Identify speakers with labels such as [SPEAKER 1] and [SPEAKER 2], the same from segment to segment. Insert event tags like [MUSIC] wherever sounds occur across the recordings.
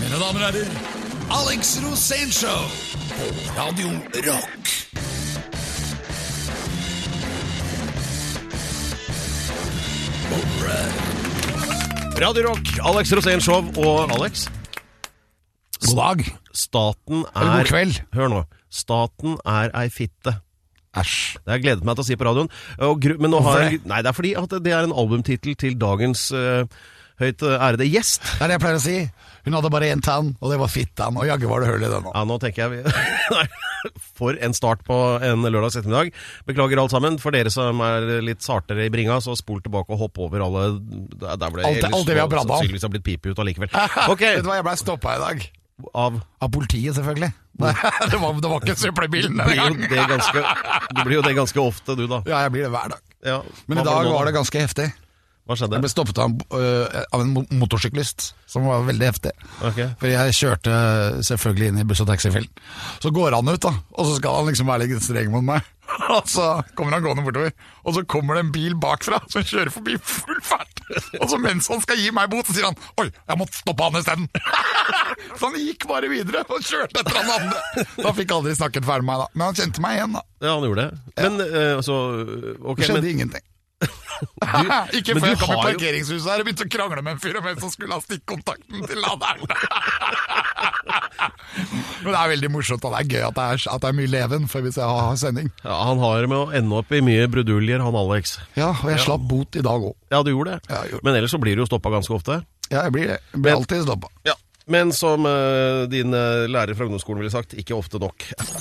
[SPEAKER 1] Mine damer og herrer, Alex Rosénshow på Radio Rock.
[SPEAKER 2] Radio Rock, Alex Rosén Show og Alex.
[SPEAKER 1] God dag.
[SPEAKER 2] Staten er
[SPEAKER 1] Eller god kveld.
[SPEAKER 2] Hør nå. Staten er ei fitte.
[SPEAKER 1] Æsj.
[SPEAKER 2] Det har jeg gledet meg til å si på radioen. Og gru, men nå har
[SPEAKER 1] Hvorfor
[SPEAKER 2] jeg, nei, det er fordi at det er en albumtittel til dagens eh, høyt ærede gjest.
[SPEAKER 1] Det er det jeg pleier å si. Hun hadde bare én tann, og det var fittan. Og jaggu var det hull i den òg.
[SPEAKER 2] Ja, nå tenker jeg vi- Nei, For en start på en lørdags ettermiddag. Beklager alt sammen. For dere som er litt sartere i bringa, så spol tilbake og hopp over alle der, der ble,
[SPEAKER 1] Alt det-
[SPEAKER 2] ellers
[SPEAKER 1] alt det vi har bradda om.
[SPEAKER 2] Sannsynligvis har blitt pipet ut
[SPEAKER 1] [LAUGHS]
[SPEAKER 2] allikevel.
[SPEAKER 1] Vet
[SPEAKER 2] [LAUGHS] Ok,
[SPEAKER 1] du hva, jeg blei stoppa i dag.
[SPEAKER 2] av
[SPEAKER 1] Av politiet, selvfølgelig. [LAUGHS] Nei, det, var, det var ikke søppelbilen
[SPEAKER 2] blir
[SPEAKER 1] den
[SPEAKER 2] jo
[SPEAKER 1] gang.
[SPEAKER 2] det ganske, du blir jo det ganske ofte, du da.
[SPEAKER 1] Ja, jeg blir det hver dag.
[SPEAKER 2] Ja,
[SPEAKER 1] Men
[SPEAKER 2] hva
[SPEAKER 1] i dag
[SPEAKER 2] nå,
[SPEAKER 1] var
[SPEAKER 2] da?
[SPEAKER 1] det ganske heftig.
[SPEAKER 2] Hva skjedde?
[SPEAKER 1] Jeg ble stoppet av, en- øh, av en mo- motorsyklist, som var veldig heftig.
[SPEAKER 2] Ok.
[SPEAKER 1] For jeg kjørte selvfølgelig inn i buss- og taxifellen. Så går han ut, da, og så skal han liksom være litt streng mot meg. [LAUGHS] Og så kommer han gående bortover, og så kommer det en bil bakfra som kjører forbi full fart. Og så mens han skal gi meg bot, så sier han 'oi, jeg måtte stoppe han isteden'. [LAUGHS] Så han gikk bare videre og kjørte etter han andre. Så han fikk aldri snakket ferdig med meg, da. Men han kjente meg igjen, da.
[SPEAKER 2] Ja, han gjorde det. Men eh, så Ok,
[SPEAKER 1] Det skjedde
[SPEAKER 2] men
[SPEAKER 1] ingenting.
[SPEAKER 2] du,
[SPEAKER 1] [LAUGHS] Ikke
[SPEAKER 2] men
[SPEAKER 1] før
[SPEAKER 2] du
[SPEAKER 1] jeg kom i
[SPEAKER 2] har jo-
[SPEAKER 1] parkeringshuset her og begynte å krangle med en fyr om hvem som skulle ha stikkontakten til laderen. [LAUGHS] Men det er veldig morsomt, og det er gøy at det er, at det er mye leven for hvis jeg har sending.
[SPEAKER 2] ja, han har med å ende opp i mye bruduljer, han Alex.
[SPEAKER 1] Ja, og jeg slapp bot i dag òg.
[SPEAKER 2] Ja, du gjorde det.
[SPEAKER 1] Ja, jeg gjorde det.
[SPEAKER 2] Men ellers så blir du jo stoppa ganske ofte.
[SPEAKER 1] Ja, jeg blir det. Jeg blir
[SPEAKER 2] Men-
[SPEAKER 1] alltid stoppa.
[SPEAKER 2] Ja. Men som eh, din eh, lærer fra ungdomsskolen ville sagt, ikke ofte nok.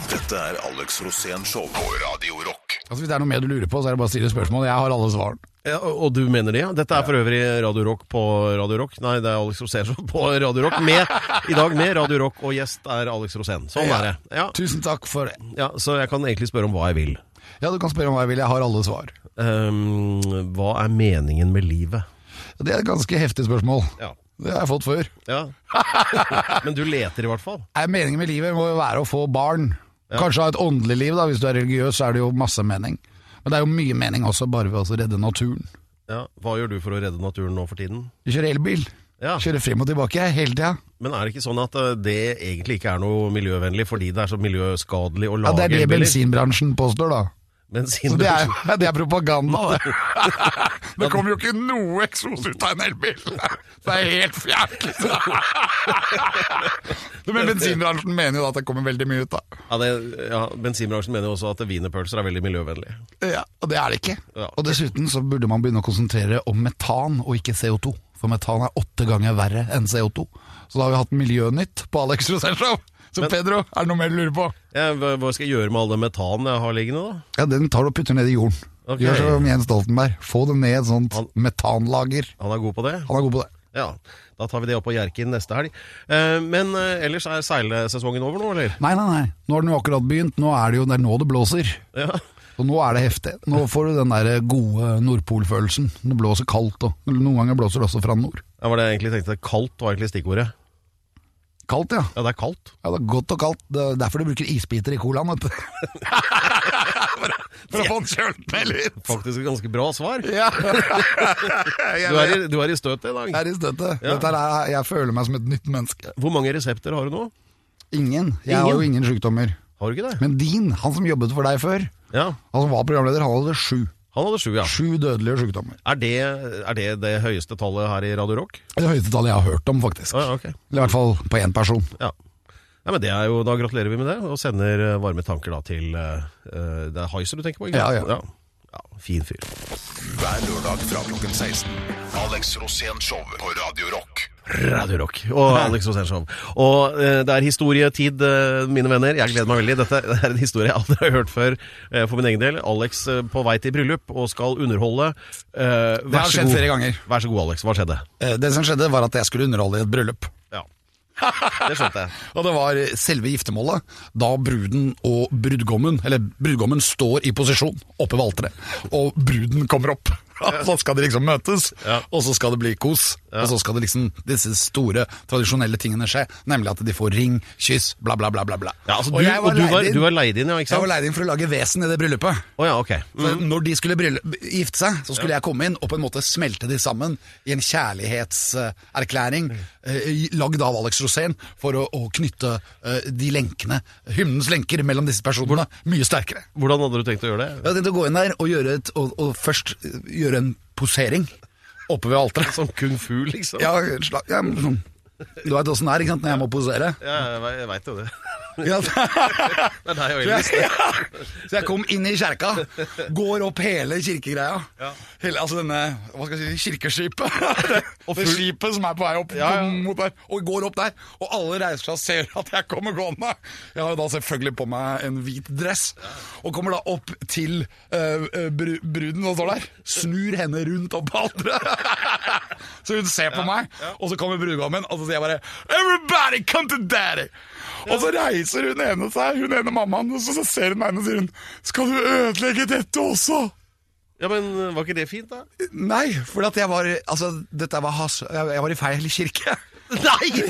[SPEAKER 3] Dette er Alex Rosén Show på Radio Rock.
[SPEAKER 1] Altså, hvis det er noe mer du lurer på, så er det bare å stille spørsmål. Jeg har alle svarene.
[SPEAKER 2] Ja, og og du mener det, ja? Dette er for øvrig Radio Rock på Radio Rock. Nei, det er Alex Rosén på Radio Rock. Med, I dag med Radio Rock, og gjest er Alex Rosén. Sånn er det. Ja,
[SPEAKER 1] Tusen takk for det.
[SPEAKER 2] ja, så jeg kan egentlig spørre om hva jeg vil.
[SPEAKER 1] Ja, du kan spørre om hva jeg vil. Jeg har alle svar.
[SPEAKER 2] Ehm, hva er meningen med livet?
[SPEAKER 1] Det er et ganske heftig spørsmål.
[SPEAKER 2] Ja.
[SPEAKER 1] Det har jeg fått før. [LAUGHS]
[SPEAKER 2] Ja. Men du leter i hvert fall.
[SPEAKER 1] Nei, meningen med livet må jo være å få barn. Kanskje ha et åndelig liv, da. Hvis du er religiøs, så er det jo masse mening. Men det er jo mye mening også bare ved å redde naturen.
[SPEAKER 2] Ja. Hva gjør du for å redde naturen nå for tiden?
[SPEAKER 1] Du kjører elbil.
[SPEAKER 2] Ja.
[SPEAKER 1] Kjører frem og tilbake jeg, hele tida.
[SPEAKER 2] Men er det ikke sånn at eh, det egentlig ikke er noe miljøvennlig fordi det er så miljøskadelig å
[SPEAKER 1] Ja,
[SPEAKER 2] lage
[SPEAKER 1] det er det
[SPEAKER 2] elbiler?
[SPEAKER 1] bensinbransjen påstår, da. Så det er,
[SPEAKER 2] [LAUGHS] Bensinbransjen.
[SPEAKER 1] ja, det er propaganda, det. [LAUGHS] Det kommer jo ikke noe eksos ut av en elbil. [LAUGHS] Det er helt fjernt. liksom. [LAUGHS]
[SPEAKER 2] [LAUGHS]
[SPEAKER 1] Men bensinbransjen mener jo da at det kommer veldig mye ut, da.
[SPEAKER 2] Ja, det, ja, bensinbransjen mener jo også at wienerpølser er veldig miljøvennlig.
[SPEAKER 1] Ja, og det er det ikke.
[SPEAKER 2] Ja.
[SPEAKER 1] Og dessuten så burde man begynne å konsentrere om metan og ikke CO2. For metan er åtte ganger verre enn CO2. Så da har vi hatt miljønytt på Alex Rosell Show. Så Pedro, er det noe mer du lurer på?
[SPEAKER 2] Ja, hva hva skal jeg gjøre med all den metanen jeg har liggende, da?
[SPEAKER 1] Ja, den tar du og putter ned i jorden.
[SPEAKER 2] Ok.
[SPEAKER 1] Gjør som Jens Stoltenberg. Få det ned i et sånt
[SPEAKER 2] Han-
[SPEAKER 1] metanlager.
[SPEAKER 2] Han er god på det?
[SPEAKER 1] Han er god på det.
[SPEAKER 2] Ja. Da tar vi det opp på Hjerkinn neste helg. Eh, Men eh, ellers er seilsesongen over nå, eller?
[SPEAKER 1] Nei, nei, nei. Nå har den jo akkurat begynt. Nå er det jo det er nå det blåser.
[SPEAKER 2] Ja.
[SPEAKER 1] Og nå er det heftig. Nå får du den der gode Nordpolfølelsen. Det blåser kaldt òg. Noen ganger blåser det også fra nord.
[SPEAKER 2] Det var det jeg egentlig tenkte. Kaldt var egentlig stikkordet.
[SPEAKER 1] Kaldt, ja.
[SPEAKER 2] Ja, det er kaldt.
[SPEAKER 1] Ja, det er godt og kaldt. Det er derfor de bruker isbiter i colaen, vet du. for, å- for å få den kjølt ned litt.
[SPEAKER 2] Faktisk et ganske bra svar.
[SPEAKER 1] Ja.
[SPEAKER 2] Du er i, du er i støtet i dag.
[SPEAKER 1] Jeg er i støtte.
[SPEAKER 2] Ja.
[SPEAKER 1] Dette er, jeg føler meg som et nytt menneske.
[SPEAKER 2] Hvor mange resepter har du nå?
[SPEAKER 1] Ingen. Jeg har jo ingen sykdommer.
[SPEAKER 2] Har du ikke det?
[SPEAKER 1] Men din, han som jobbet for deg før,
[SPEAKER 2] Ja,
[SPEAKER 1] han som var programleder, han hadde sju.
[SPEAKER 2] Han hadde sju, ja.
[SPEAKER 1] Sju dødelige sykdommer.
[SPEAKER 2] Er det, er det det høyeste tallet her i Radio Rock?
[SPEAKER 1] Det høyeste tallet jeg har hørt om, faktisk.
[SPEAKER 2] Ja, ja, ok.
[SPEAKER 1] Eller i hvert fall på én person.
[SPEAKER 2] Ja. Nei, men det er jo, Da gratulerer vi med det, og sender eh, varme tanker da til eh, eh, Det er Heiser du tenker på? ikke
[SPEAKER 1] Ja,
[SPEAKER 2] sant?
[SPEAKER 1] ja.
[SPEAKER 2] ja. ja fin fyr.
[SPEAKER 3] Hver lørdag fra klokken 16. Alex Rosén Show på Radio Rock.
[SPEAKER 2] Radio Rock og Alex Rosenshov. Og eh, det er historietid, eh, mine venner. Jeg gleder meg veldig. Dette er [LAUGHS] en historie jeg aldri har hørt før eh, for min egen del. Alex eh, på vei til bryllup og skal underholde.
[SPEAKER 1] har
[SPEAKER 2] Eh, vær så
[SPEAKER 1] skjedd
[SPEAKER 2] god.
[SPEAKER 1] flere ganger.
[SPEAKER 2] Vær så god, Alex. Hva skjedde?
[SPEAKER 1] Eh, Det som skjedde, var at jeg skulle underholde i et bryllup.
[SPEAKER 2] Ja. [LAUGHS] Det skjønte jeg.
[SPEAKER 1] Og det var selve giftermålet, da bruden og brudgommen, eller brudgommen står i posisjon oppe ved alteret, og bruden kommer opp. [LAUGHS] Så skal de liksom møtes,
[SPEAKER 2] Ja.
[SPEAKER 1] og så skal det bli kos. Og så skal det liksom disse store, tradisjonelle tingene skje. Nemlig at de får ring, kyss, bla, bla, bla. bla, bla.
[SPEAKER 2] Ja, altså, du,
[SPEAKER 1] jeg
[SPEAKER 2] og du var,
[SPEAKER 1] leid inn-
[SPEAKER 2] du var leid inn, ja, ikke
[SPEAKER 1] Jeg
[SPEAKER 2] sant?
[SPEAKER 1] var leid inn for å lage vesen i det bryllupet.
[SPEAKER 2] Å ja, ok.
[SPEAKER 1] Så Når de skulle brylle- gifte seg, så skulle jeg komme inn og på en måte smelte de sammen i en kjærlighetserklæring eh, lagd av Alex Rosén for å, å knytte eh, de lenkene, hymnens lenker, mellom disse personene mye sterkere.
[SPEAKER 2] Hvordan hadde du tenkt å gjøre
[SPEAKER 1] Jeg
[SPEAKER 2] det? [LAUGHS]
[SPEAKER 1] hadde tenkt å gå inn der og, gjøre et, og, og først eh, gjøre en posering oppe ved
[SPEAKER 2] [LAUGHS]
[SPEAKER 1] alteret.
[SPEAKER 2] Som kung fu, liksom?
[SPEAKER 1] Ja, sla- ja, men sånn. Du veit åssen det er ikke sant, når jeg må posere?
[SPEAKER 2] Ja, jeg ve- jeg veit jo det. [LAUGHS]
[SPEAKER 1] Ja, [LAUGHS]
[SPEAKER 2] Det er deg og Elvis. det.
[SPEAKER 1] Ja. Så jeg kom inn i kjerka, går opp hele kirkegreia.
[SPEAKER 2] Ja.
[SPEAKER 1] Hele, altså denne hva skal jeg si, kirkeskipet. Det,
[SPEAKER 2] Og
[SPEAKER 1] det
[SPEAKER 2] full-
[SPEAKER 1] skipet som er på vei opp
[SPEAKER 2] Ja, ja.
[SPEAKER 1] mot der. Og går opp der, og alle reiser seg og ser at jeg kommer gående. Jeg har jo da selvfølgelig på meg en hvit dress. Og kommer da opp til eh, eh, bru, bruden som står der. Snur henne rundt opp på alteret. [LAUGHS] så hun ser på meg, og så kommer brudgommen, og så sier jeg bare Everybody come to daddy! Og så reiser hun ene seg, hun ene mammaen, og så, så ser hun meg inn og sier hun Skal du ødelegge dette også?
[SPEAKER 2] Ja, men øh, var ikke det fint, da?
[SPEAKER 1] Nei, for at jeg var Altså, dette var has... Jeg jeg var i feil
[SPEAKER 2] [LAUGHS]
[SPEAKER 1] kirke. Nei!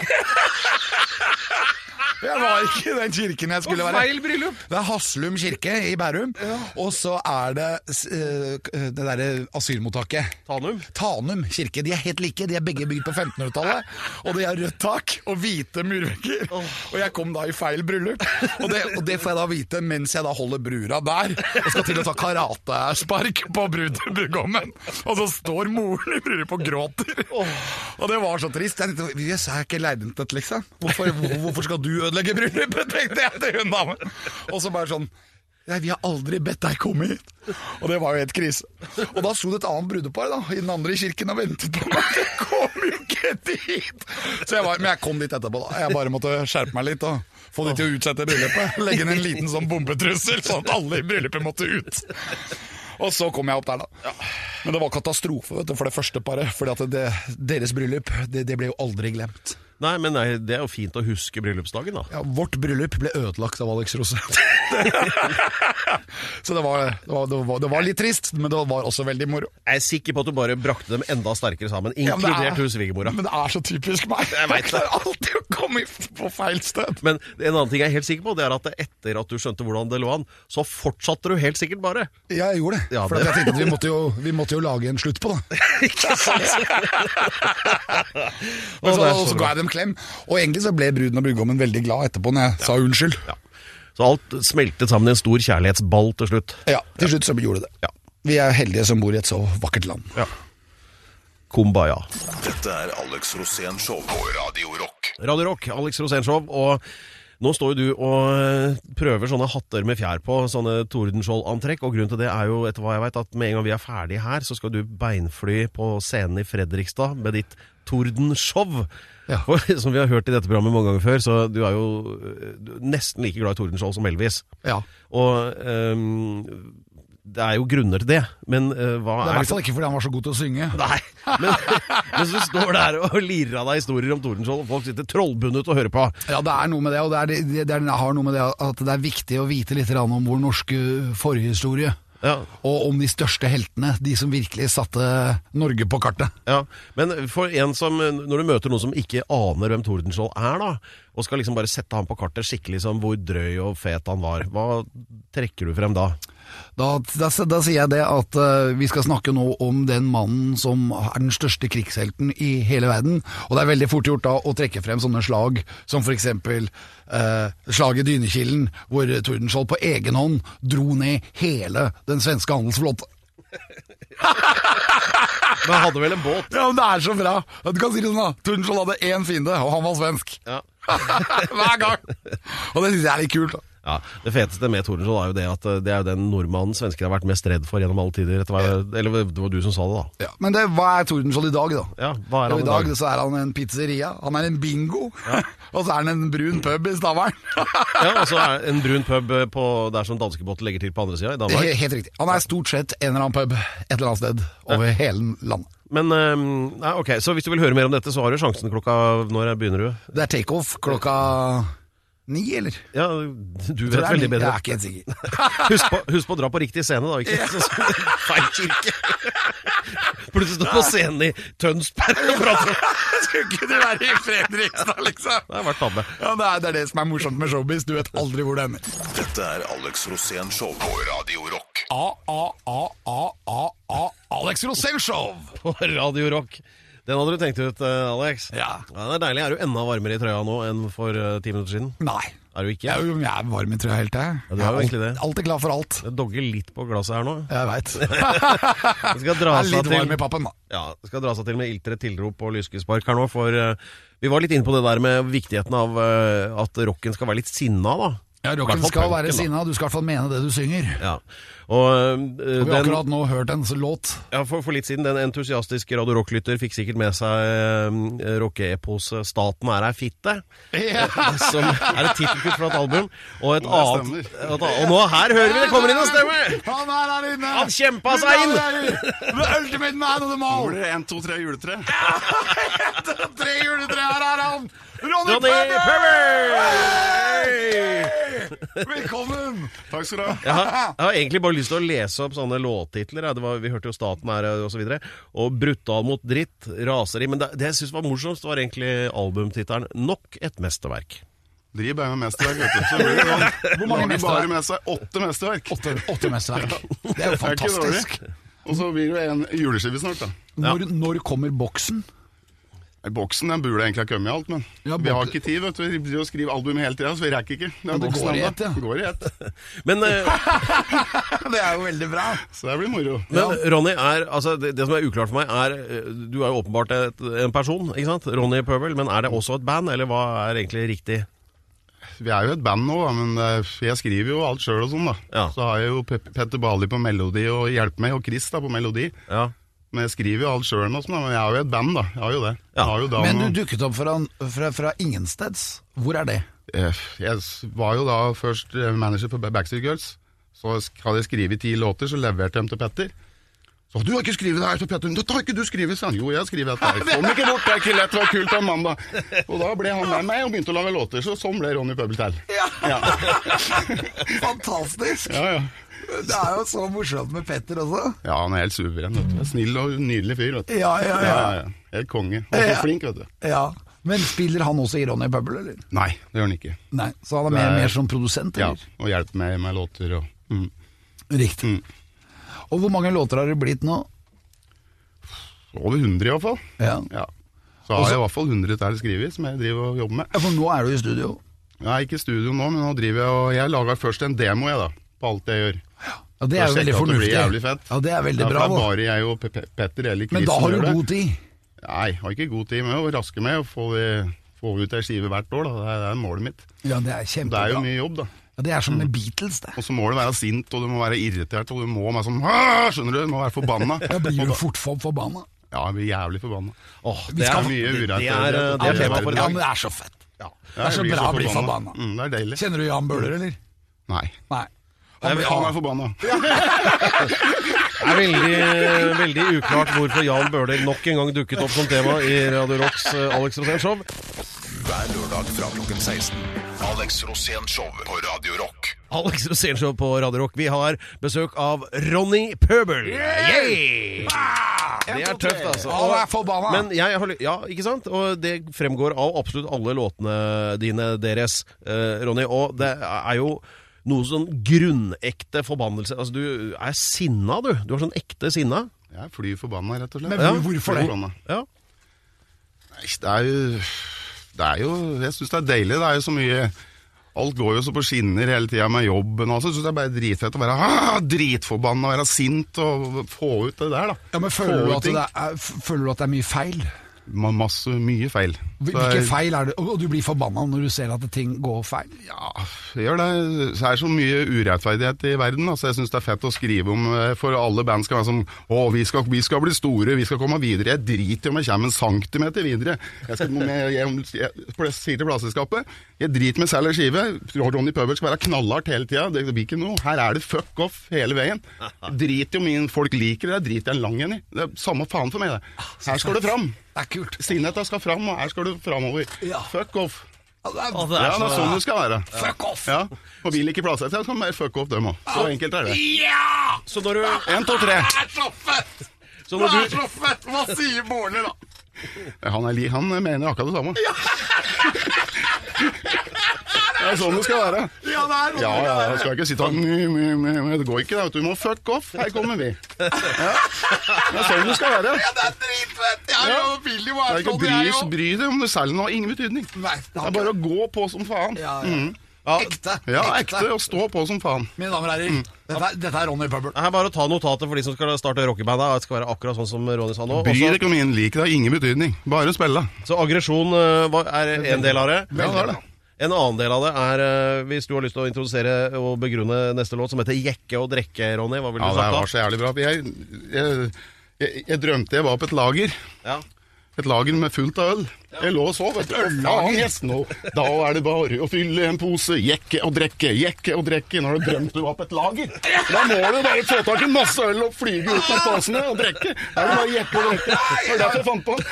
[SPEAKER 1] Jeg var ikke i den kirken jeg skulle være.
[SPEAKER 2] Feil bryllup!
[SPEAKER 1] Det er Haslum kirke i Bærum, og så er det s- eh, det derre asylmottaket.
[SPEAKER 2] Tanum.
[SPEAKER 1] Tanum kirke. De er helt like. De er begge bygd på 1500-tallet. Og de har rødt tak og hvite murvegger. Og jeg kom da i feil bryllup. Og det, og det får jeg da vite mens jeg da holder brura der og skal til å ta karatespark på brud- brudgommen. Og så står moren i bryllupet og gråter. Og det var så trist. Jeg tenkte jøss, jeg er ikke leid inn til dette, liksom. Hvorfor, hvor- hvorfor skal du ødelegge bryllupet, tenkte jeg til hun damen. Og så bare sånn Nei, Vi har aldri bedt deg komme hit. Og det var jo helt krise. Og da sto det et annet brudepar da, i den andre kirken og ventet på meg. Det kom jo ikke dit! Så jeg var, men jeg kom dit etterpå. da. Jeg bare måtte skjerpe meg litt og få de til å utsette bryllupet. Legge inn en liten sånn bombetrussel, sånn at alle i bryllupet måtte ut. Og så kom jeg opp der, da. Men det var katastrofe vet du, for det første paret. For deres bryllup det, det ble jo aldri glemt.
[SPEAKER 2] Nei, men nei, det er jo fint å huske bryllupsdagen, da.
[SPEAKER 1] Ja, vårt bryllup ble ødelagt av Alex Rose. [LAUGHS] så det var, det, var, det, var, det var litt trist, men det var også veldig moro.
[SPEAKER 2] Jeg er sikker på at du bare brakte dem enda sterkere sammen,
[SPEAKER 1] Ja, men det er-
[SPEAKER 2] inkludert hun svigermora.
[SPEAKER 1] Men det er så typisk meg.
[SPEAKER 2] Jeg vet det.
[SPEAKER 1] klarer alltid å komme i- på feil sted.
[SPEAKER 2] Men en annen ting jeg er helt sikker på, det er at etter at du skjønte hvordan det lå an, så fortsatte du helt sikkert bare.
[SPEAKER 1] [LAUGHS] Ja, jeg gjorde det.
[SPEAKER 2] Ja,
[SPEAKER 1] for
[SPEAKER 2] det-
[SPEAKER 1] jeg tenkte at vi måtte, jo, vi måtte jo lage en slutt på det.
[SPEAKER 2] Ikke sant?
[SPEAKER 1] Men så,
[SPEAKER 2] det er så
[SPEAKER 1] og så
[SPEAKER 2] bra.
[SPEAKER 1] ga jeg dem klem. Og egentlig så ble bruden og brudgommen veldig glad etterpå når jeg sa unnskyld. Ja.
[SPEAKER 2] Så alt smeltet sammen i en stor kjærlighetsball til slutt.
[SPEAKER 1] Til slutt så gjorde det det.
[SPEAKER 2] Ja.
[SPEAKER 1] Vi er heldige som bor i et så vakkert land.
[SPEAKER 2] Kumbaya.
[SPEAKER 3] Dette er Alex Rosén Show på Radio Rock.
[SPEAKER 2] Radio Rock, Alex Rosénshow, og nå står jo du og eh, prøver sånne hatter med fjær på, sånne Tordenskjold-antrekk, og grunnen til det er jo, etter hva jeg vet, at med en gang vi er ferdige her, så skal du beinfly på scenen i Fredrikstad med ditt Tordenshow.
[SPEAKER 1] Ja.
[SPEAKER 2] For, [LAUGHS] som vi har hørt i dette programmet mange ganger før, så du er jo eh, du er nesten like glad i Tordenskjold som Elvis.
[SPEAKER 1] Ja.
[SPEAKER 2] Og ehm, det er jo grunner til det, men eh, hva
[SPEAKER 1] Det er i
[SPEAKER 2] er
[SPEAKER 1] hvert fall ikke fordi han var så god til å synge.
[SPEAKER 2] Nei, [LAUGHS] men, men så står det her og lirer av deg historier om Tordenskjold, og folk sitter trollbundet og hører på.
[SPEAKER 1] Ja, det er noe med det, og det, er, det, det, er, det har noe med det at det er viktig å vite litt grann om vår norske forhistorie.
[SPEAKER 2] Ja,
[SPEAKER 1] Og om de største heltene, de som virkelig satte Norge på kartet.
[SPEAKER 2] ja. Men for en som, når du møter noen som ikke aner hvem Tordenskjold er, da, og skal liksom bare sette ham på kartet skikkelig som hvor drøy og fet han var, hva trekker du frem da?
[SPEAKER 1] Da, da, da sier jeg det at eh, vi skal snakke nå om den mannen som er den største krigshelten i hele verden. Og det er veldig fort gjort da å trekke frem sånne slag som f.eks. Uh, slaget Dynekilen, hvor Tordenskjold på egen hånd dro ned hele den svenske handelsflåten.
[SPEAKER 2] Men han hadde vel en båt?
[SPEAKER 1] Ja, men det er så bra! Du kan si det sånn, da. Tordenskjold hadde én fiende, og han var svensk. [LAUGHS]
[SPEAKER 2] Ja.
[SPEAKER 1] Hver gang! Og det syns jeg er litt kult. da.
[SPEAKER 2] Ja, Det feteste med Tordenskjold er jo det at eh, det er jo den nordmannen svensker har vært mest redd for gjennom alle tider. Etter hva, eller det var du som sa det, da.
[SPEAKER 1] Ja, men det, hva er Tordenskjold i dag, da?
[SPEAKER 2] Ja, Hva er
[SPEAKER 1] Jo, I
[SPEAKER 2] han i dag?
[SPEAKER 1] dag så er han en pizzeria, han er en bingo, [LAUGHS] og så er han en brun pub i [LAUGHS] Stavern.
[SPEAKER 2] Ja, altså er En brun pub eh, på der som danskebåten legger til på andre sida, i Danmark.
[SPEAKER 1] He- Helt riktig. Han er stort sett en eller annen pub et eller annet sted over hele landet.
[SPEAKER 2] Men ehm, nei, ok, Så hvis du vil høre mer om dette, så har du sjansen klokka Når begynner du?
[SPEAKER 1] Det er takeoff klokka ni, eller?
[SPEAKER 2] Ja, du
[SPEAKER 1] Jeg tror
[SPEAKER 2] vet
[SPEAKER 1] det er
[SPEAKER 2] veldig
[SPEAKER 1] ni.
[SPEAKER 2] bedre.
[SPEAKER 1] Jeg er [LAUGHS] ikke helt sikker.
[SPEAKER 2] [LAUGHS] Husk på, husk på å dra på riktig scene, da. Ikke så- feil kirke. Plutselig står på scenen i Tønsberg og prater om
[SPEAKER 1] Skulle ikke du være i Fredrikstad, [LAUGHS] liksom?
[SPEAKER 2] Det har vært tabbe.
[SPEAKER 1] Ja, det er, det er det som er morsomt med showbiz. Du vet aldri hvor det ender.
[SPEAKER 3] Dette er Alex Rosén Show på Radio Rock.
[SPEAKER 1] A-a-a-a-a-a Alex Rosén Show!
[SPEAKER 2] på Radio Rock. Den hadde du tenkt ut, eh, Alex.
[SPEAKER 1] Ja.
[SPEAKER 2] Det er deilig. Er du enda varmere i trøya nå enn for eh, ti minutter siden?
[SPEAKER 1] Nei.
[SPEAKER 2] Er du ikke?
[SPEAKER 1] Jeg er, jo, jeg er varm i trøya helt til.
[SPEAKER 2] du er jo egentlig det.
[SPEAKER 1] Alltid glad for alt.
[SPEAKER 2] Det dogger litt på glasset her nå.
[SPEAKER 1] Jeg
[SPEAKER 2] [LAUGHS]
[SPEAKER 1] veit.
[SPEAKER 2] Det
[SPEAKER 1] Jeg er litt
[SPEAKER 2] skal dra seg
[SPEAKER 1] varm
[SPEAKER 2] Altså, til,
[SPEAKER 1] i pappen, da.
[SPEAKER 2] ja, det skal dra seg til med iltre tilrop og lyskespark her nå, for eh, vi var litt inne på det der med viktigheten av eh, at rocken skal være litt sinna, da.
[SPEAKER 1] Ja,
[SPEAKER 2] I hvert
[SPEAKER 1] Rocken
[SPEAKER 2] fall
[SPEAKER 1] skal
[SPEAKER 2] punken,
[SPEAKER 1] være
[SPEAKER 2] da.
[SPEAKER 1] sinna, du skal i hvert fall mene det du synger.
[SPEAKER 2] Ja. Og eh,
[SPEAKER 1] Og vi har
[SPEAKER 2] den,
[SPEAKER 1] akkurat nå hørt en
[SPEAKER 2] [LAUGHS]
[SPEAKER 1] låt.
[SPEAKER 2] ja, for, for litt siden, den entusiastiske Radio Rock-lytter fikk sikkert med seg uh, rocke-eposet 'Staten er ei fitte'. som er et tittelkutt fra et album. Og et annet et annet- Og nå her hører vi det kommer inn og stemmer!
[SPEAKER 1] Han er her inne!
[SPEAKER 2] Han kjempa seg inn!
[SPEAKER 1] The ultimate man of them all!
[SPEAKER 4] Blir det en, to, tre juletre?
[SPEAKER 1] Tre juletre, her er han! Ronny,
[SPEAKER 2] Johnny
[SPEAKER 1] Pøbel!
[SPEAKER 2] Pøbel!
[SPEAKER 1] Velkommen!
[SPEAKER 4] Takk skal du ha.
[SPEAKER 2] Jeg har, jeg har egentlig bare lyst til å lese opp sånne låttitler. ja. Det var, vi hørte jo 'Staten er' eh, og så videre. Og 'Brutal mot dritt', 'Raseri'. Men det, det jeg syns var morsomst, var egentlig albumtittelen 'Nok et mesterverk'.
[SPEAKER 4] Driv bare med mesterverk, vet du. Så blir det
[SPEAKER 1] [LAUGHS]
[SPEAKER 4] sånn.
[SPEAKER 1] Hvor mange
[SPEAKER 4] Da har de
[SPEAKER 1] mesterverk?
[SPEAKER 4] bare med seg åtte mesterverk.
[SPEAKER 1] Åtte, åtte mesterverk. Det er jo
[SPEAKER 4] Det er ikke
[SPEAKER 1] fantastisk.
[SPEAKER 4] dårlig. Og så blir det en juleskive snart, da.
[SPEAKER 1] Når, når kommer boksen?
[SPEAKER 4] Nei, Boksen den burde egentlig ha kommet i alt, men
[SPEAKER 1] Ja,
[SPEAKER 4] vi har
[SPEAKER 1] bok-
[SPEAKER 4] ikke tid. vet du Vi driver og skriver album hele tida, så vi rekker ikke.
[SPEAKER 1] det
[SPEAKER 4] Den boksen
[SPEAKER 1] går i
[SPEAKER 4] enda.
[SPEAKER 1] ett, ja.
[SPEAKER 4] går i ett.
[SPEAKER 2] Men, eh,
[SPEAKER 1] [LAUGHS] Det er jo veldig bra.
[SPEAKER 4] Så det blir moro.
[SPEAKER 2] men Ronny er altså, det, det som er uklart for meg, er eh, Du er jo åpenbart et, en person, ikke sant? Ronny Pøbel. Men er det også et band, eller hva er egentlig riktig?
[SPEAKER 4] Vi er jo et band nå, da, men eh, jeg skriver jo alt sjøl og sånn, da.
[SPEAKER 2] Ja.
[SPEAKER 4] Så har jeg jo Pe- Petter Bali på melodi og Hjelp meg, og Chris da på melodi.
[SPEAKER 2] Ja
[SPEAKER 4] Men jeg skriver jo alt sjøl nå, sånn, da. men jeg har jo et band, da. Jeg har jo det.
[SPEAKER 2] Ja.
[SPEAKER 4] Jeg har jo da
[SPEAKER 1] Men
[SPEAKER 4] noe-
[SPEAKER 1] du dukket opp fra, fra, fra ingensteds. Hvor er det?
[SPEAKER 4] Eh, Jeg s- var jo da først eh, manager for Ba- Backstreet Girls. Så sk- hadde jeg skrevet ti låter, så leverte jeg dem til Petter. Så du har ikke skrevet det her, så Petter. Dette har ikke du skrevet, sa han. Jo, jeg har skrevet dette. her. Kom ikke bort, det er ikke lett, det var kult av en mann, da. Og da ble han med meg og begynte å lage låter, så sånn ble Ronny Pøbel til.
[SPEAKER 1] Fantastisk!
[SPEAKER 4] Ja, ja.
[SPEAKER 1] Det er jo så morsomt med Petter også.
[SPEAKER 4] Ja, han er helt suveren, vet du. Snill og nydelig fyr, vet du.
[SPEAKER 1] Ja, ja, ja.
[SPEAKER 4] ja, ja. Helt konge. Og så
[SPEAKER 1] Ja.
[SPEAKER 4] flink, vet du.
[SPEAKER 1] ja. Men spiller han også i Ronny Pøbel, eller?
[SPEAKER 4] Nei, det gjør han ikke.
[SPEAKER 1] Nei, så han er mer,
[SPEAKER 4] Nei.
[SPEAKER 1] mer som produsent,
[SPEAKER 4] Ja,
[SPEAKER 1] eller?
[SPEAKER 4] og hjelper meg med låter og mm.
[SPEAKER 1] Riktig. Og hvor mange låter har det blitt nå?
[SPEAKER 4] Over 100 i hvert fall.
[SPEAKER 1] Ja.
[SPEAKER 4] Ja. Så har jeg i hvert fall 100 der skrevet, som jeg driver og jobber med.
[SPEAKER 1] For nå er du i studio.
[SPEAKER 4] Nei, ikke i studio nå, men nå driver jeg og Jeg laga først en demo, jeg, da. På alt jeg gjør.
[SPEAKER 1] Ja, det er jo
[SPEAKER 4] Jeg
[SPEAKER 1] veldig
[SPEAKER 4] sjekker at
[SPEAKER 1] fornuftig.
[SPEAKER 4] Det blir jævlig fett.
[SPEAKER 1] Ja, det er veldig
[SPEAKER 4] for
[SPEAKER 1] bra.
[SPEAKER 4] Det
[SPEAKER 1] da.
[SPEAKER 4] er bare jeg og Pe- Pe- Petter eller Chris
[SPEAKER 1] Men da har
[SPEAKER 4] som
[SPEAKER 1] du
[SPEAKER 4] gjør det.
[SPEAKER 1] god tid.
[SPEAKER 4] Nei, har ikke god tid med å raske med og få, få ut ei skive hvert år. Da. Det er, det er målet mitt.
[SPEAKER 1] Ja, det er
[SPEAKER 4] Det er jo
[SPEAKER 1] kjempebra.
[SPEAKER 4] mye Mm. jobb, da.
[SPEAKER 1] Ja, det er som med Beatles, det.
[SPEAKER 4] Og så må du være sint, og du må være irritert, og du må være sånn «Åh!» Skjønner du? Du må være forbanna.
[SPEAKER 1] Jeg blir
[SPEAKER 4] Og
[SPEAKER 1] jo
[SPEAKER 4] da-
[SPEAKER 1] fort for forbanna.
[SPEAKER 4] Ja, jeg blir jævlig forbanna.
[SPEAKER 2] Åh,
[SPEAKER 1] Vi
[SPEAKER 2] det,
[SPEAKER 1] skal-
[SPEAKER 2] er,
[SPEAKER 4] Mye
[SPEAKER 2] det, det,
[SPEAKER 4] urettferdighet.
[SPEAKER 2] er, eh, det
[SPEAKER 4] Ja,
[SPEAKER 2] er tema for i
[SPEAKER 1] Ja,
[SPEAKER 2] dag.
[SPEAKER 1] men det er så fett. Det
[SPEAKER 4] Jeg
[SPEAKER 1] er så
[SPEAKER 4] blir
[SPEAKER 1] bra å bli forbanna.
[SPEAKER 4] Mm, det er deilig.
[SPEAKER 1] Kjenner du Jan Bøhler, eller?
[SPEAKER 4] Nei.
[SPEAKER 1] Nei.
[SPEAKER 4] Han
[SPEAKER 1] blir-
[SPEAKER 4] han er forbanna.
[SPEAKER 2] Det er veldig, veldig uklart hvorfor Jan Bøhler nok en gang dukket opp som tema i Radio Rocks eh, Alex Rosén Show.
[SPEAKER 3] Hver lørdag fra klokken 16. Alex Rosén Show på Radio Rock.
[SPEAKER 2] Alex Rosén Show på Radio Rock. Vi har besøk av Ronny Pøbel. Yay! Det er tøft, altså.
[SPEAKER 1] Alle er forbanna.
[SPEAKER 2] Men jeg har, ly- ja, ikke sant? Og det fremgår av absolutt alle låtene dine deres, eh, Ronny. Og det er jo noe sånn grunnekte forbannelse. Altså, du er sinna, du. Du har sånn ekte sinna.
[SPEAKER 4] Jeg er fly forbanna, rett og slett.
[SPEAKER 1] Men
[SPEAKER 4] Ja,
[SPEAKER 1] hvorfor
[SPEAKER 4] fly
[SPEAKER 1] det?
[SPEAKER 4] forbanna.
[SPEAKER 2] Ja.
[SPEAKER 4] Nei, det er jo Det er jo Jeg syns det er deilig. Det er jo så mye Alt går jo så på skinner hele tida med jobben. og sånn. Jeg syns det er bare dritfett å være ah, dritforbanna, være sint og få ut det der, da.
[SPEAKER 1] Ja, men føler du,
[SPEAKER 4] Få ut
[SPEAKER 1] at
[SPEAKER 4] ting.
[SPEAKER 1] det er, f- føler du at det er mye feil?
[SPEAKER 4] Ma- Masse, mye feil. Så
[SPEAKER 1] Hvilke
[SPEAKER 4] jeg-
[SPEAKER 1] feil er det? Og og du blir forbanna når du ser at ting går feil?
[SPEAKER 4] Ja, det gjør det. Så er det så mye urettferdighet i verden. da, så jeg syns det er fett å skrive om eh, For alle band skal være sånn Å, vi skal, vi skal bli store, vi skal komme videre. Jeg driter i om jeg kommer en centimeter videre. Jeg, skal, jeg, jeg, jeg, jeg sier til plateselskapet Jeg driter med selger skive. Ronny Pøbel skal være knallhardt hele tida. Det blir ikke noe. Her er det fuck off hele veien. Drit i om min- folk liker det, det driter jeg en lang en i. Det er samme faen for meg, det. Her skal det fram.
[SPEAKER 1] Det er kult.
[SPEAKER 4] Sinnheta skal fram, og her skal du framover.
[SPEAKER 1] Ja.
[SPEAKER 4] Fuck off.
[SPEAKER 1] Ja, det er-
[SPEAKER 4] Ja, det er sånn det skal være.
[SPEAKER 1] Fuck off!
[SPEAKER 4] Ja, og vil ikke plassere seg, så kan man bare fuck off dem òg. Så enkelt er det.
[SPEAKER 1] Ja!
[SPEAKER 2] Så når du
[SPEAKER 4] Én, to, tre.
[SPEAKER 1] Det er så fett!
[SPEAKER 2] Så
[SPEAKER 1] Det
[SPEAKER 2] når
[SPEAKER 1] er
[SPEAKER 2] du
[SPEAKER 1] så fett! Hva sier Bårdli, da?
[SPEAKER 4] Han, er li, han mener akkurat det samme. Det er sånn det skal være.
[SPEAKER 1] Ja, det er
[SPEAKER 4] Ja, ja, jeg skal ikke sånn, "Mm, sitte og Det går ikke, da, vet du. Du må fuck off. Her kommer vi. Ja. Det er sånn det skal være.
[SPEAKER 1] Ja, det er dritfett! Jeg
[SPEAKER 4] Ja.
[SPEAKER 1] jo vil jo
[SPEAKER 4] Det
[SPEAKER 1] være
[SPEAKER 4] er ikke
[SPEAKER 1] sånn,
[SPEAKER 4] bry,
[SPEAKER 1] jeg jo.
[SPEAKER 4] bry deg om det selv nå har ingen betydning. Det
[SPEAKER 1] Nei, det
[SPEAKER 4] er
[SPEAKER 1] er
[SPEAKER 4] bare å gå på som faen.
[SPEAKER 1] ja, ja. Ekte.
[SPEAKER 4] Ja, Mm. ekte. Og stå på som faen.
[SPEAKER 1] Mine damer og herrer, dette, er- dette er Ronny Pøbel.
[SPEAKER 2] Det er bare å ta notatet for de som skal starte rockeband. Det skal være akkurat sånn som Ronny sa nå.
[SPEAKER 4] Bry
[SPEAKER 2] Også-
[SPEAKER 4] deg ikke om ingen liker deg. Ingen betydning. Bare spille.
[SPEAKER 2] Så aggresjon eh, var- er en del av det.
[SPEAKER 4] Ja, det er det.
[SPEAKER 2] En annen del av det er eh, hvis du har lyst til å introdusere og begrunne neste låt, som heter 'Jekke og drekke', Ronny. Hva ville
[SPEAKER 4] Ja,
[SPEAKER 2] du
[SPEAKER 4] det
[SPEAKER 2] sagt da?
[SPEAKER 4] var så jævlig bra. Jeg, jeg, jeg, jeg drømte jeg var på et lager.
[SPEAKER 2] Ja.
[SPEAKER 4] Et lager med fullt av øl. Jeg lå og sov. vet du. Å, faen, yes, nå. Da er det bare å fylle en pose, jekke og drikke, jekke og drikke. Når du drømte du var på et lager. Da må du bare få tak i masse øl og flyge ut med posene og drikke. Da er det bare jekke og drikke. Det var derfor jeg fant på den.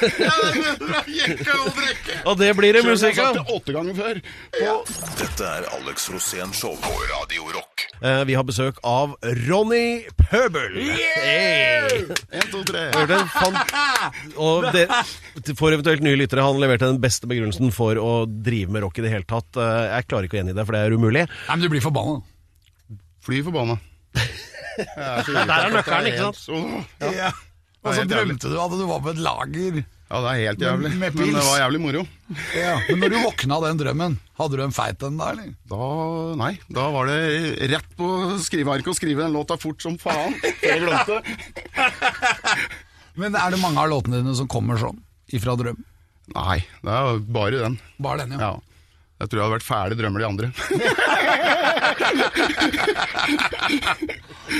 [SPEAKER 1] Jekke og drikke.
[SPEAKER 2] Og det blir det
[SPEAKER 4] Jeg har
[SPEAKER 2] musikk
[SPEAKER 4] sagt
[SPEAKER 2] av!
[SPEAKER 4] det åtte ganger før. På
[SPEAKER 3] Dette er Alex Rosén Show på Radio Rock.
[SPEAKER 2] Eh, Vi har besøk av Ronny Pøbel. Hey!
[SPEAKER 4] en, to, tre.
[SPEAKER 2] Det er en fan- Og det, for eventuelt nye lyttere, han leverte den beste begrunnelsen for å drive med rock i det hele tatt. Eh, Jeg klarer ikke å gjengi det, for det er umulig.
[SPEAKER 1] Nei, men du blir forbanna.
[SPEAKER 4] Fly forbanna. Der
[SPEAKER 2] er nøkkelen, ikke sant?
[SPEAKER 1] Ja. Og så
[SPEAKER 4] Nei, det er
[SPEAKER 1] drømte du at du var på et lager.
[SPEAKER 4] Ja, det er helt jævlig.
[SPEAKER 1] Med- med
[SPEAKER 4] Men det
[SPEAKER 1] pils.
[SPEAKER 4] var jævlig moro.
[SPEAKER 1] Men når du våkna av den drømmen, hadde du en feit en da, eller?
[SPEAKER 4] Da, nei, da var det rett på skrivearket og skrive den låta fort som faen.
[SPEAKER 1] [LAUGHS]
[SPEAKER 4] Jeg glemte.
[SPEAKER 1] Men er det mange av låtene dine som kommer sånn, ifra drøm?
[SPEAKER 4] Nei, det er bare den.
[SPEAKER 1] Bare den, ja.
[SPEAKER 4] Ja. Jeg tror jeg hadde vært fæle drømmer de andre. [LAUGHS]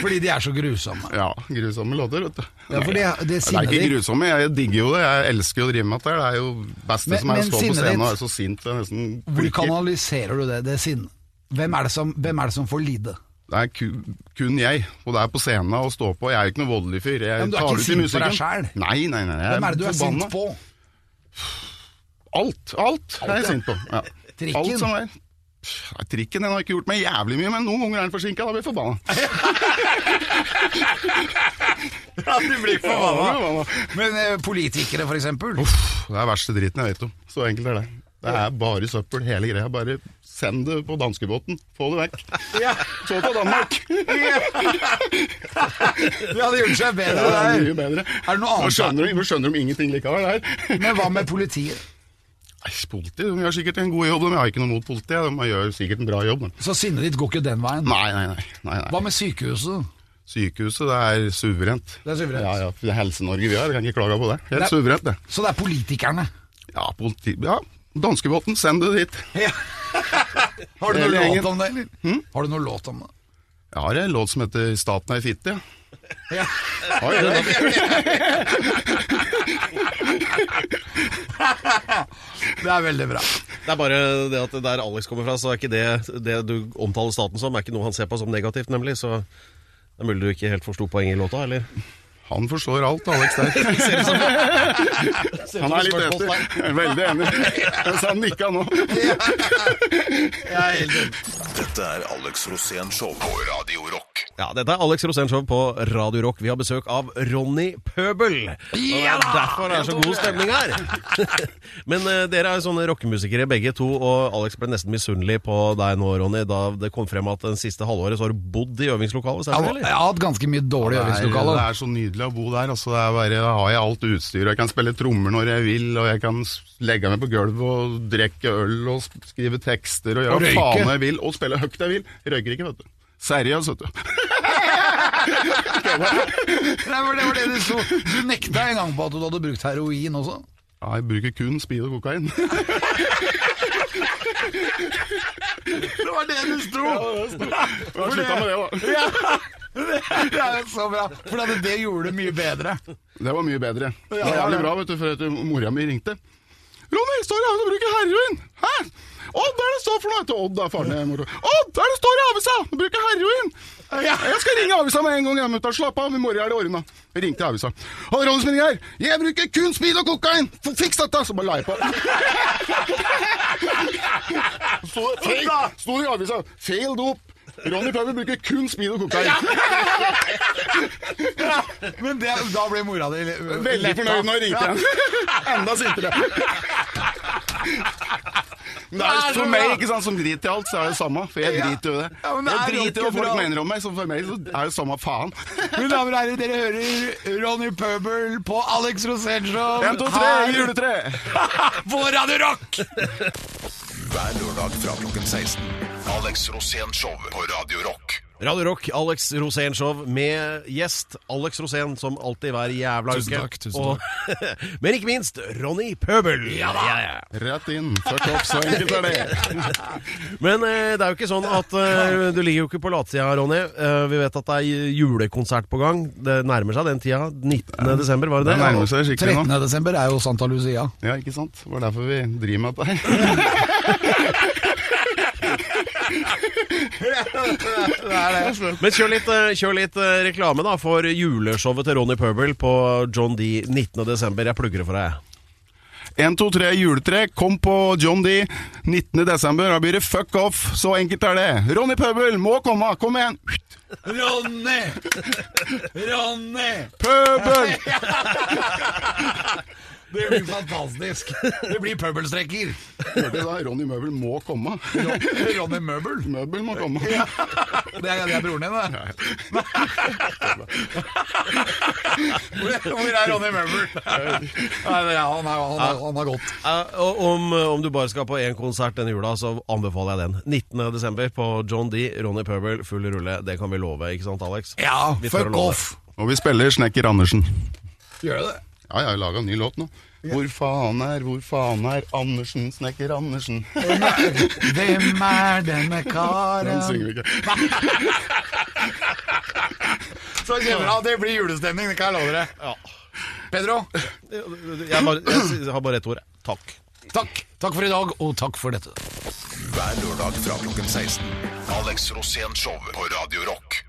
[SPEAKER 1] Fordi de er så grusomme.
[SPEAKER 4] Ja, grusomme låter, vet du.
[SPEAKER 1] Ja, for det- det
[SPEAKER 4] Nei,
[SPEAKER 1] sinnet
[SPEAKER 4] er
[SPEAKER 1] ditt-
[SPEAKER 4] ikke grusomme, jeg digger jo det. Jeg elsker jo å drive med dette. her. Det er jo beste
[SPEAKER 1] Men-
[SPEAKER 4] som er
[SPEAKER 1] men
[SPEAKER 4] å stå på
[SPEAKER 1] sinnet
[SPEAKER 4] scenen
[SPEAKER 1] ditt-
[SPEAKER 4] og være så sint. Det er nesten
[SPEAKER 1] Hvor kanaliserer du det, det sinnet? Hvem er det som, hvem er det som får lide?
[SPEAKER 4] Det er ku, kun jeg, og det er på scenen og stå på. Jeg er jo ikke noen voldelig fyr. Jeg
[SPEAKER 1] men du er
[SPEAKER 4] tar
[SPEAKER 1] ikke
[SPEAKER 4] det ut i
[SPEAKER 1] sint på deg
[SPEAKER 4] musikken.
[SPEAKER 1] selv?
[SPEAKER 4] Nei, nei, nei. Jeg
[SPEAKER 1] Hvem er det du er
[SPEAKER 4] forbanna.
[SPEAKER 1] sint på?
[SPEAKER 4] Alt. Alt er jeg
[SPEAKER 1] ja.
[SPEAKER 4] sint på. Ja.
[SPEAKER 1] [LAUGHS] Trikken.
[SPEAKER 4] Alt som er. Pff, nei, Trikken den har ikke gjort meg jævlig mye, men noen ganger er den forsinka. Da blir jeg
[SPEAKER 1] [LAUGHS]
[SPEAKER 4] forbanna.
[SPEAKER 1] Ja, du blir
[SPEAKER 4] Ja, jeg blir
[SPEAKER 1] Men eh, politikere, for eksempel? [LAUGHS]
[SPEAKER 4] Pff, Det er verste driten jeg vet om. Så enkelt er det. Det er bare søppel, hele greia. Bare send det på danskebåten. Få det vekk. Så til Danmark.
[SPEAKER 1] [LAUGHS] Ja, det gjør seg
[SPEAKER 4] Det
[SPEAKER 1] bedre
[SPEAKER 4] er
[SPEAKER 1] der.
[SPEAKER 4] mye bedre.
[SPEAKER 1] Er det noe
[SPEAKER 4] Nå
[SPEAKER 1] annet?
[SPEAKER 4] skjønner, de, nå skjønner de ingenting likevel her.
[SPEAKER 1] Men hva med politiet?
[SPEAKER 4] Nei, Politiet de gjør sikkert en god jobb. De har ikke noe mot politiet. De gjør sikkert en bra jobb. de.
[SPEAKER 1] Så sinnet ditt går ikke den veien.
[SPEAKER 4] Nei, nei, nei. nei, nei.
[SPEAKER 1] Hva med sykehuset?
[SPEAKER 4] Sykehuset, det er suverent.
[SPEAKER 1] Det er suverent.
[SPEAKER 4] Ja, ja. Det er Helse-Norge vi har, vi kan ikke klage på det. Helt
[SPEAKER 1] Nei.
[SPEAKER 4] suverent, det.
[SPEAKER 1] Så det er politikerne.
[SPEAKER 4] Ja, politi... Ja, danskebåten, send det dit.
[SPEAKER 1] Har du
[SPEAKER 4] Hele
[SPEAKER 1] noe
[SPEAKER 4] gjengen. Hm?
[SPEAKER 1] låt om det, eller? Har du noe låt om det?
[SPEAKER 4] Jeg har en låt som heter 'Staten er fitte'. ja.
[SPEAKER 1] Ja.
[SPEAKER 4] Har jeg det?
[SPEAKER 1] Det er veldig bra.
[SPEAKER 2] Det er bare det at der Alex kommer fra, så er ikke det det du omtaler staten som, er ikke noe han ser på som negativt, nemlig. Så det er mulig du ikke helt forsto poenget i låta, eller?
[SPEAKER 4] Han forstår alt, Alex
[SPEAKER 1] [LAUGHS]
[SPEAKER 4] der. Han er litt etter. Veldig enig. [LAUGHS] Mens han nikka nå.
[SPEAKER 3] Dette er Alex Rosén Show på Radio Rock.
[SPEAKER 2] Ja, dette er Alex Rosénshow på Radio Rock. Vi har besøk av Ronny Pøbel. Og det
[SPEAKER 1] Ja
[SPEAKER 2] er
[SPEAKER 1] da!
[SPEAKER 2] derfor det er så god stemning her. [LAUGHS] Men eh, dere er jo sånne rockemusikere begge to, og Alex ble nesten misunnelig på deg nå, Ronny, da det kom frem at den siste halvåret så har du bodd i øvingslokalet,
[SPEAKER 1] Jeg
[SPEAKER 2] stemmer
[SPEAKER 1] har- jeg
[SPEAKER 2] det, eller?
[SPEAKER 1] har hatt ganske mye dårlig
[SPEAKER 4] Det
[SPEAKER 1] øvingslokale.
[SPEAKER 4] er så nydelig å bo der. Altså, det er bare, da har jeg alt utstyret. Jeg kan spille trommer når jeg vil, og jeg kan s- legge meg på gulvet og drikke øl og s- skrive tekster og
[SPEAKER 1] Og
[SPEAKER 4] gjøre
[SPEAKER 1] røyke.
[SPEAKER 4] hva faen jeg vil, og spille høyt jeg vil. Jeg røyker ikke, vet du. Seriøst, vet du.
[SPEAKER 1] Nei, for det var det du sto. Du nekta en gang på at du hadde brukt heroin også.
[SPEAKER 4] Ja, jeg bruker kun speed og kokain. [LAUGHS]
[SPEAKER 1] Det var det du sto!
[SPEAKER 4] Jeg har slutta med det òg.
[SPEAKER 1] Det er jo så bra. For at det gjorde det mye bedre.
[SPEAKER 4] Det var mye bedre. Det var
[SPEAKER 1] ja, ja.
[SPEAKER 4] jævlig bra, vet du, for at mora mi ringte. Ronny, står det her og bruker heroin? Hæ? Odd, hva er det står for noe? Til Odd, da, faren til mora. Odd, hva er det står i avisa? Du bruker heroin! Jeg skal ringe avisa med en gang hjemme, da. Slapp av, i morgen er det ordna. Jeg ringte avisa. Hallo, Ronny som ringer her. Jeg bruker kun speed og kokain! Få Fiks dette! Så bare la jeg på. Sto- Sto det i avisa. Failed opp. Ronny Pøbel bruker kun speed og kokain.
[SPEAKER 1] Men det, da ble mora di le-
[SPEAKER 4] Veldig
[SPEAKER 1] letta.
[SPEAKER 4] fornøyd når jeg ringte henne. [LAUGHS] Enda sintere. Men det er jo for meg ikke sant, som driter i alt, så er det det samme. For jeg driter jo i det.
[SPEAKER 1] Ja, men det
[SPEAKER 4] Jeg
[SPEAKER 1] er jo
[SPEAKER 4] driter i hva
[SPEAKER 1] ikke
[SPEAKER 4] folk
[SPEAKER 1] bra.
[SPEAKER 4] mener om meg, så for meg så er det jo samme
[SPEAKER 1] [LAUGHS]
[SPEAKER 4] faen.
[SPEAKER 1] Mine damer og herrer, dere hører Ronny Pøbel på Alex Rosenshov
[SPEAKER 4] En, to, tre, juletre!
[SPEAKER 1] på Radio Rock!
[SPEAKER 3] Hver lørdag fra klokken 16. Alex Rosén Show på Radio Rock.
[SPEAKER 2] Radio Rock, Alex Rosén Show med gjest Alex Rosén, som alltid hver jævla
[SPEAKER 1] Tusen
[SPEAKER 2] uke.
[SPEAKER 1] takk, tusen
[SPEAKER 2] Og, [LAUGHS] men ikke minst Ronny Pøbel! Ja da!
[SPEAKER 4] Rett inn. Først opp, så enkelt er det.
[SPEAKER 2] Men eh, det er jo ikke sånn at eh, du ligger jo ikke på latsida, Ronny. Eh, vi vet at det er julekonsert på gang. Det nærmer seg den tida. 19. desember, var det
[SPEAKER 4] Det
[SPEAKER 2] det?
[SPEAKER 4] nærmer seg skikkelig
[SPEAKER 1] 13.
[SPEAKER 4] nå.
[SPEAKER 1] desember er jo Santa Lucia.
[SPEAKER 4] Ja, ikke sant? Det var derfor vi driver med dette her. [LAUGHS]
[SPEAKER 2] Men kjør litt, eh, kjør litt eh, reklame da for juleshowet til Ronny Pøbel på John D. 19. desember. Jeg plugger det for deg.
[SPEAKER 4] 1, 2, 3, juletre. Kom på John D. 19. desember. Da blir det fuck off. Så enkelt er det. Ronny Pøbel må komme! Kom igjen!
[SPEAKER 1] Ronny! Ronny!
[SPEAKER 4] Pøbel!
[SPEAKER 1] Det blir fantastisk. Det blir pøbelstrekker.
[SPEAKER 4] Hørte du da? Ronny Møbel må komme.
[SPEAKER 1] Ronny Møbel.
[SPEAKER 4] [LAUGHS] Møbel må komme.
[SPEAKER 1] Det er, det er broren din, det. Hvor hvor er Ronny Møbel? Nei, det er- han, er, han, er, han har gått.
[SPEAKER 2] Eh, og om, om du bare skal på én konsert denne jula, så anbefaler jeg den. 19. desember på John D. Ronny Pøbel, full rulle. Det kan vi love, ikke sant, Alex?
[SPEAKER 1] Ja,
[SPEAKER 2] Vi
[SPEAKER 1] fuck
[SPEAKER 2] tør å love
[SPEAKER 1] off!
[SPEAKER 4] Og vi spiller Snekker Andersen.
[SPEAKER 1] Gjør du det?
[SPEAKER 4] Ja, jeg har laga ny låt nå. Hvor faen er, hvor faen er Andersen, Snekker Andersen?
[SPEAKER 1] Hvem er denne karen?
[SPEAKER 4] Den synger vi ikke.
[SPEAKER 1] Så kjempebra. Det blir julestemning, det kan jeg love dere. Pedro,
[SPEAKER 2] Jeg, bare, jeg har bare ett ord. Takk.
[SPEAKER 1] takk. Takk for i dag, og takk for dette.
[SPEAKER 3] Hver lørdag fra klokken 16. Alex Rosén Show på Radio Rock.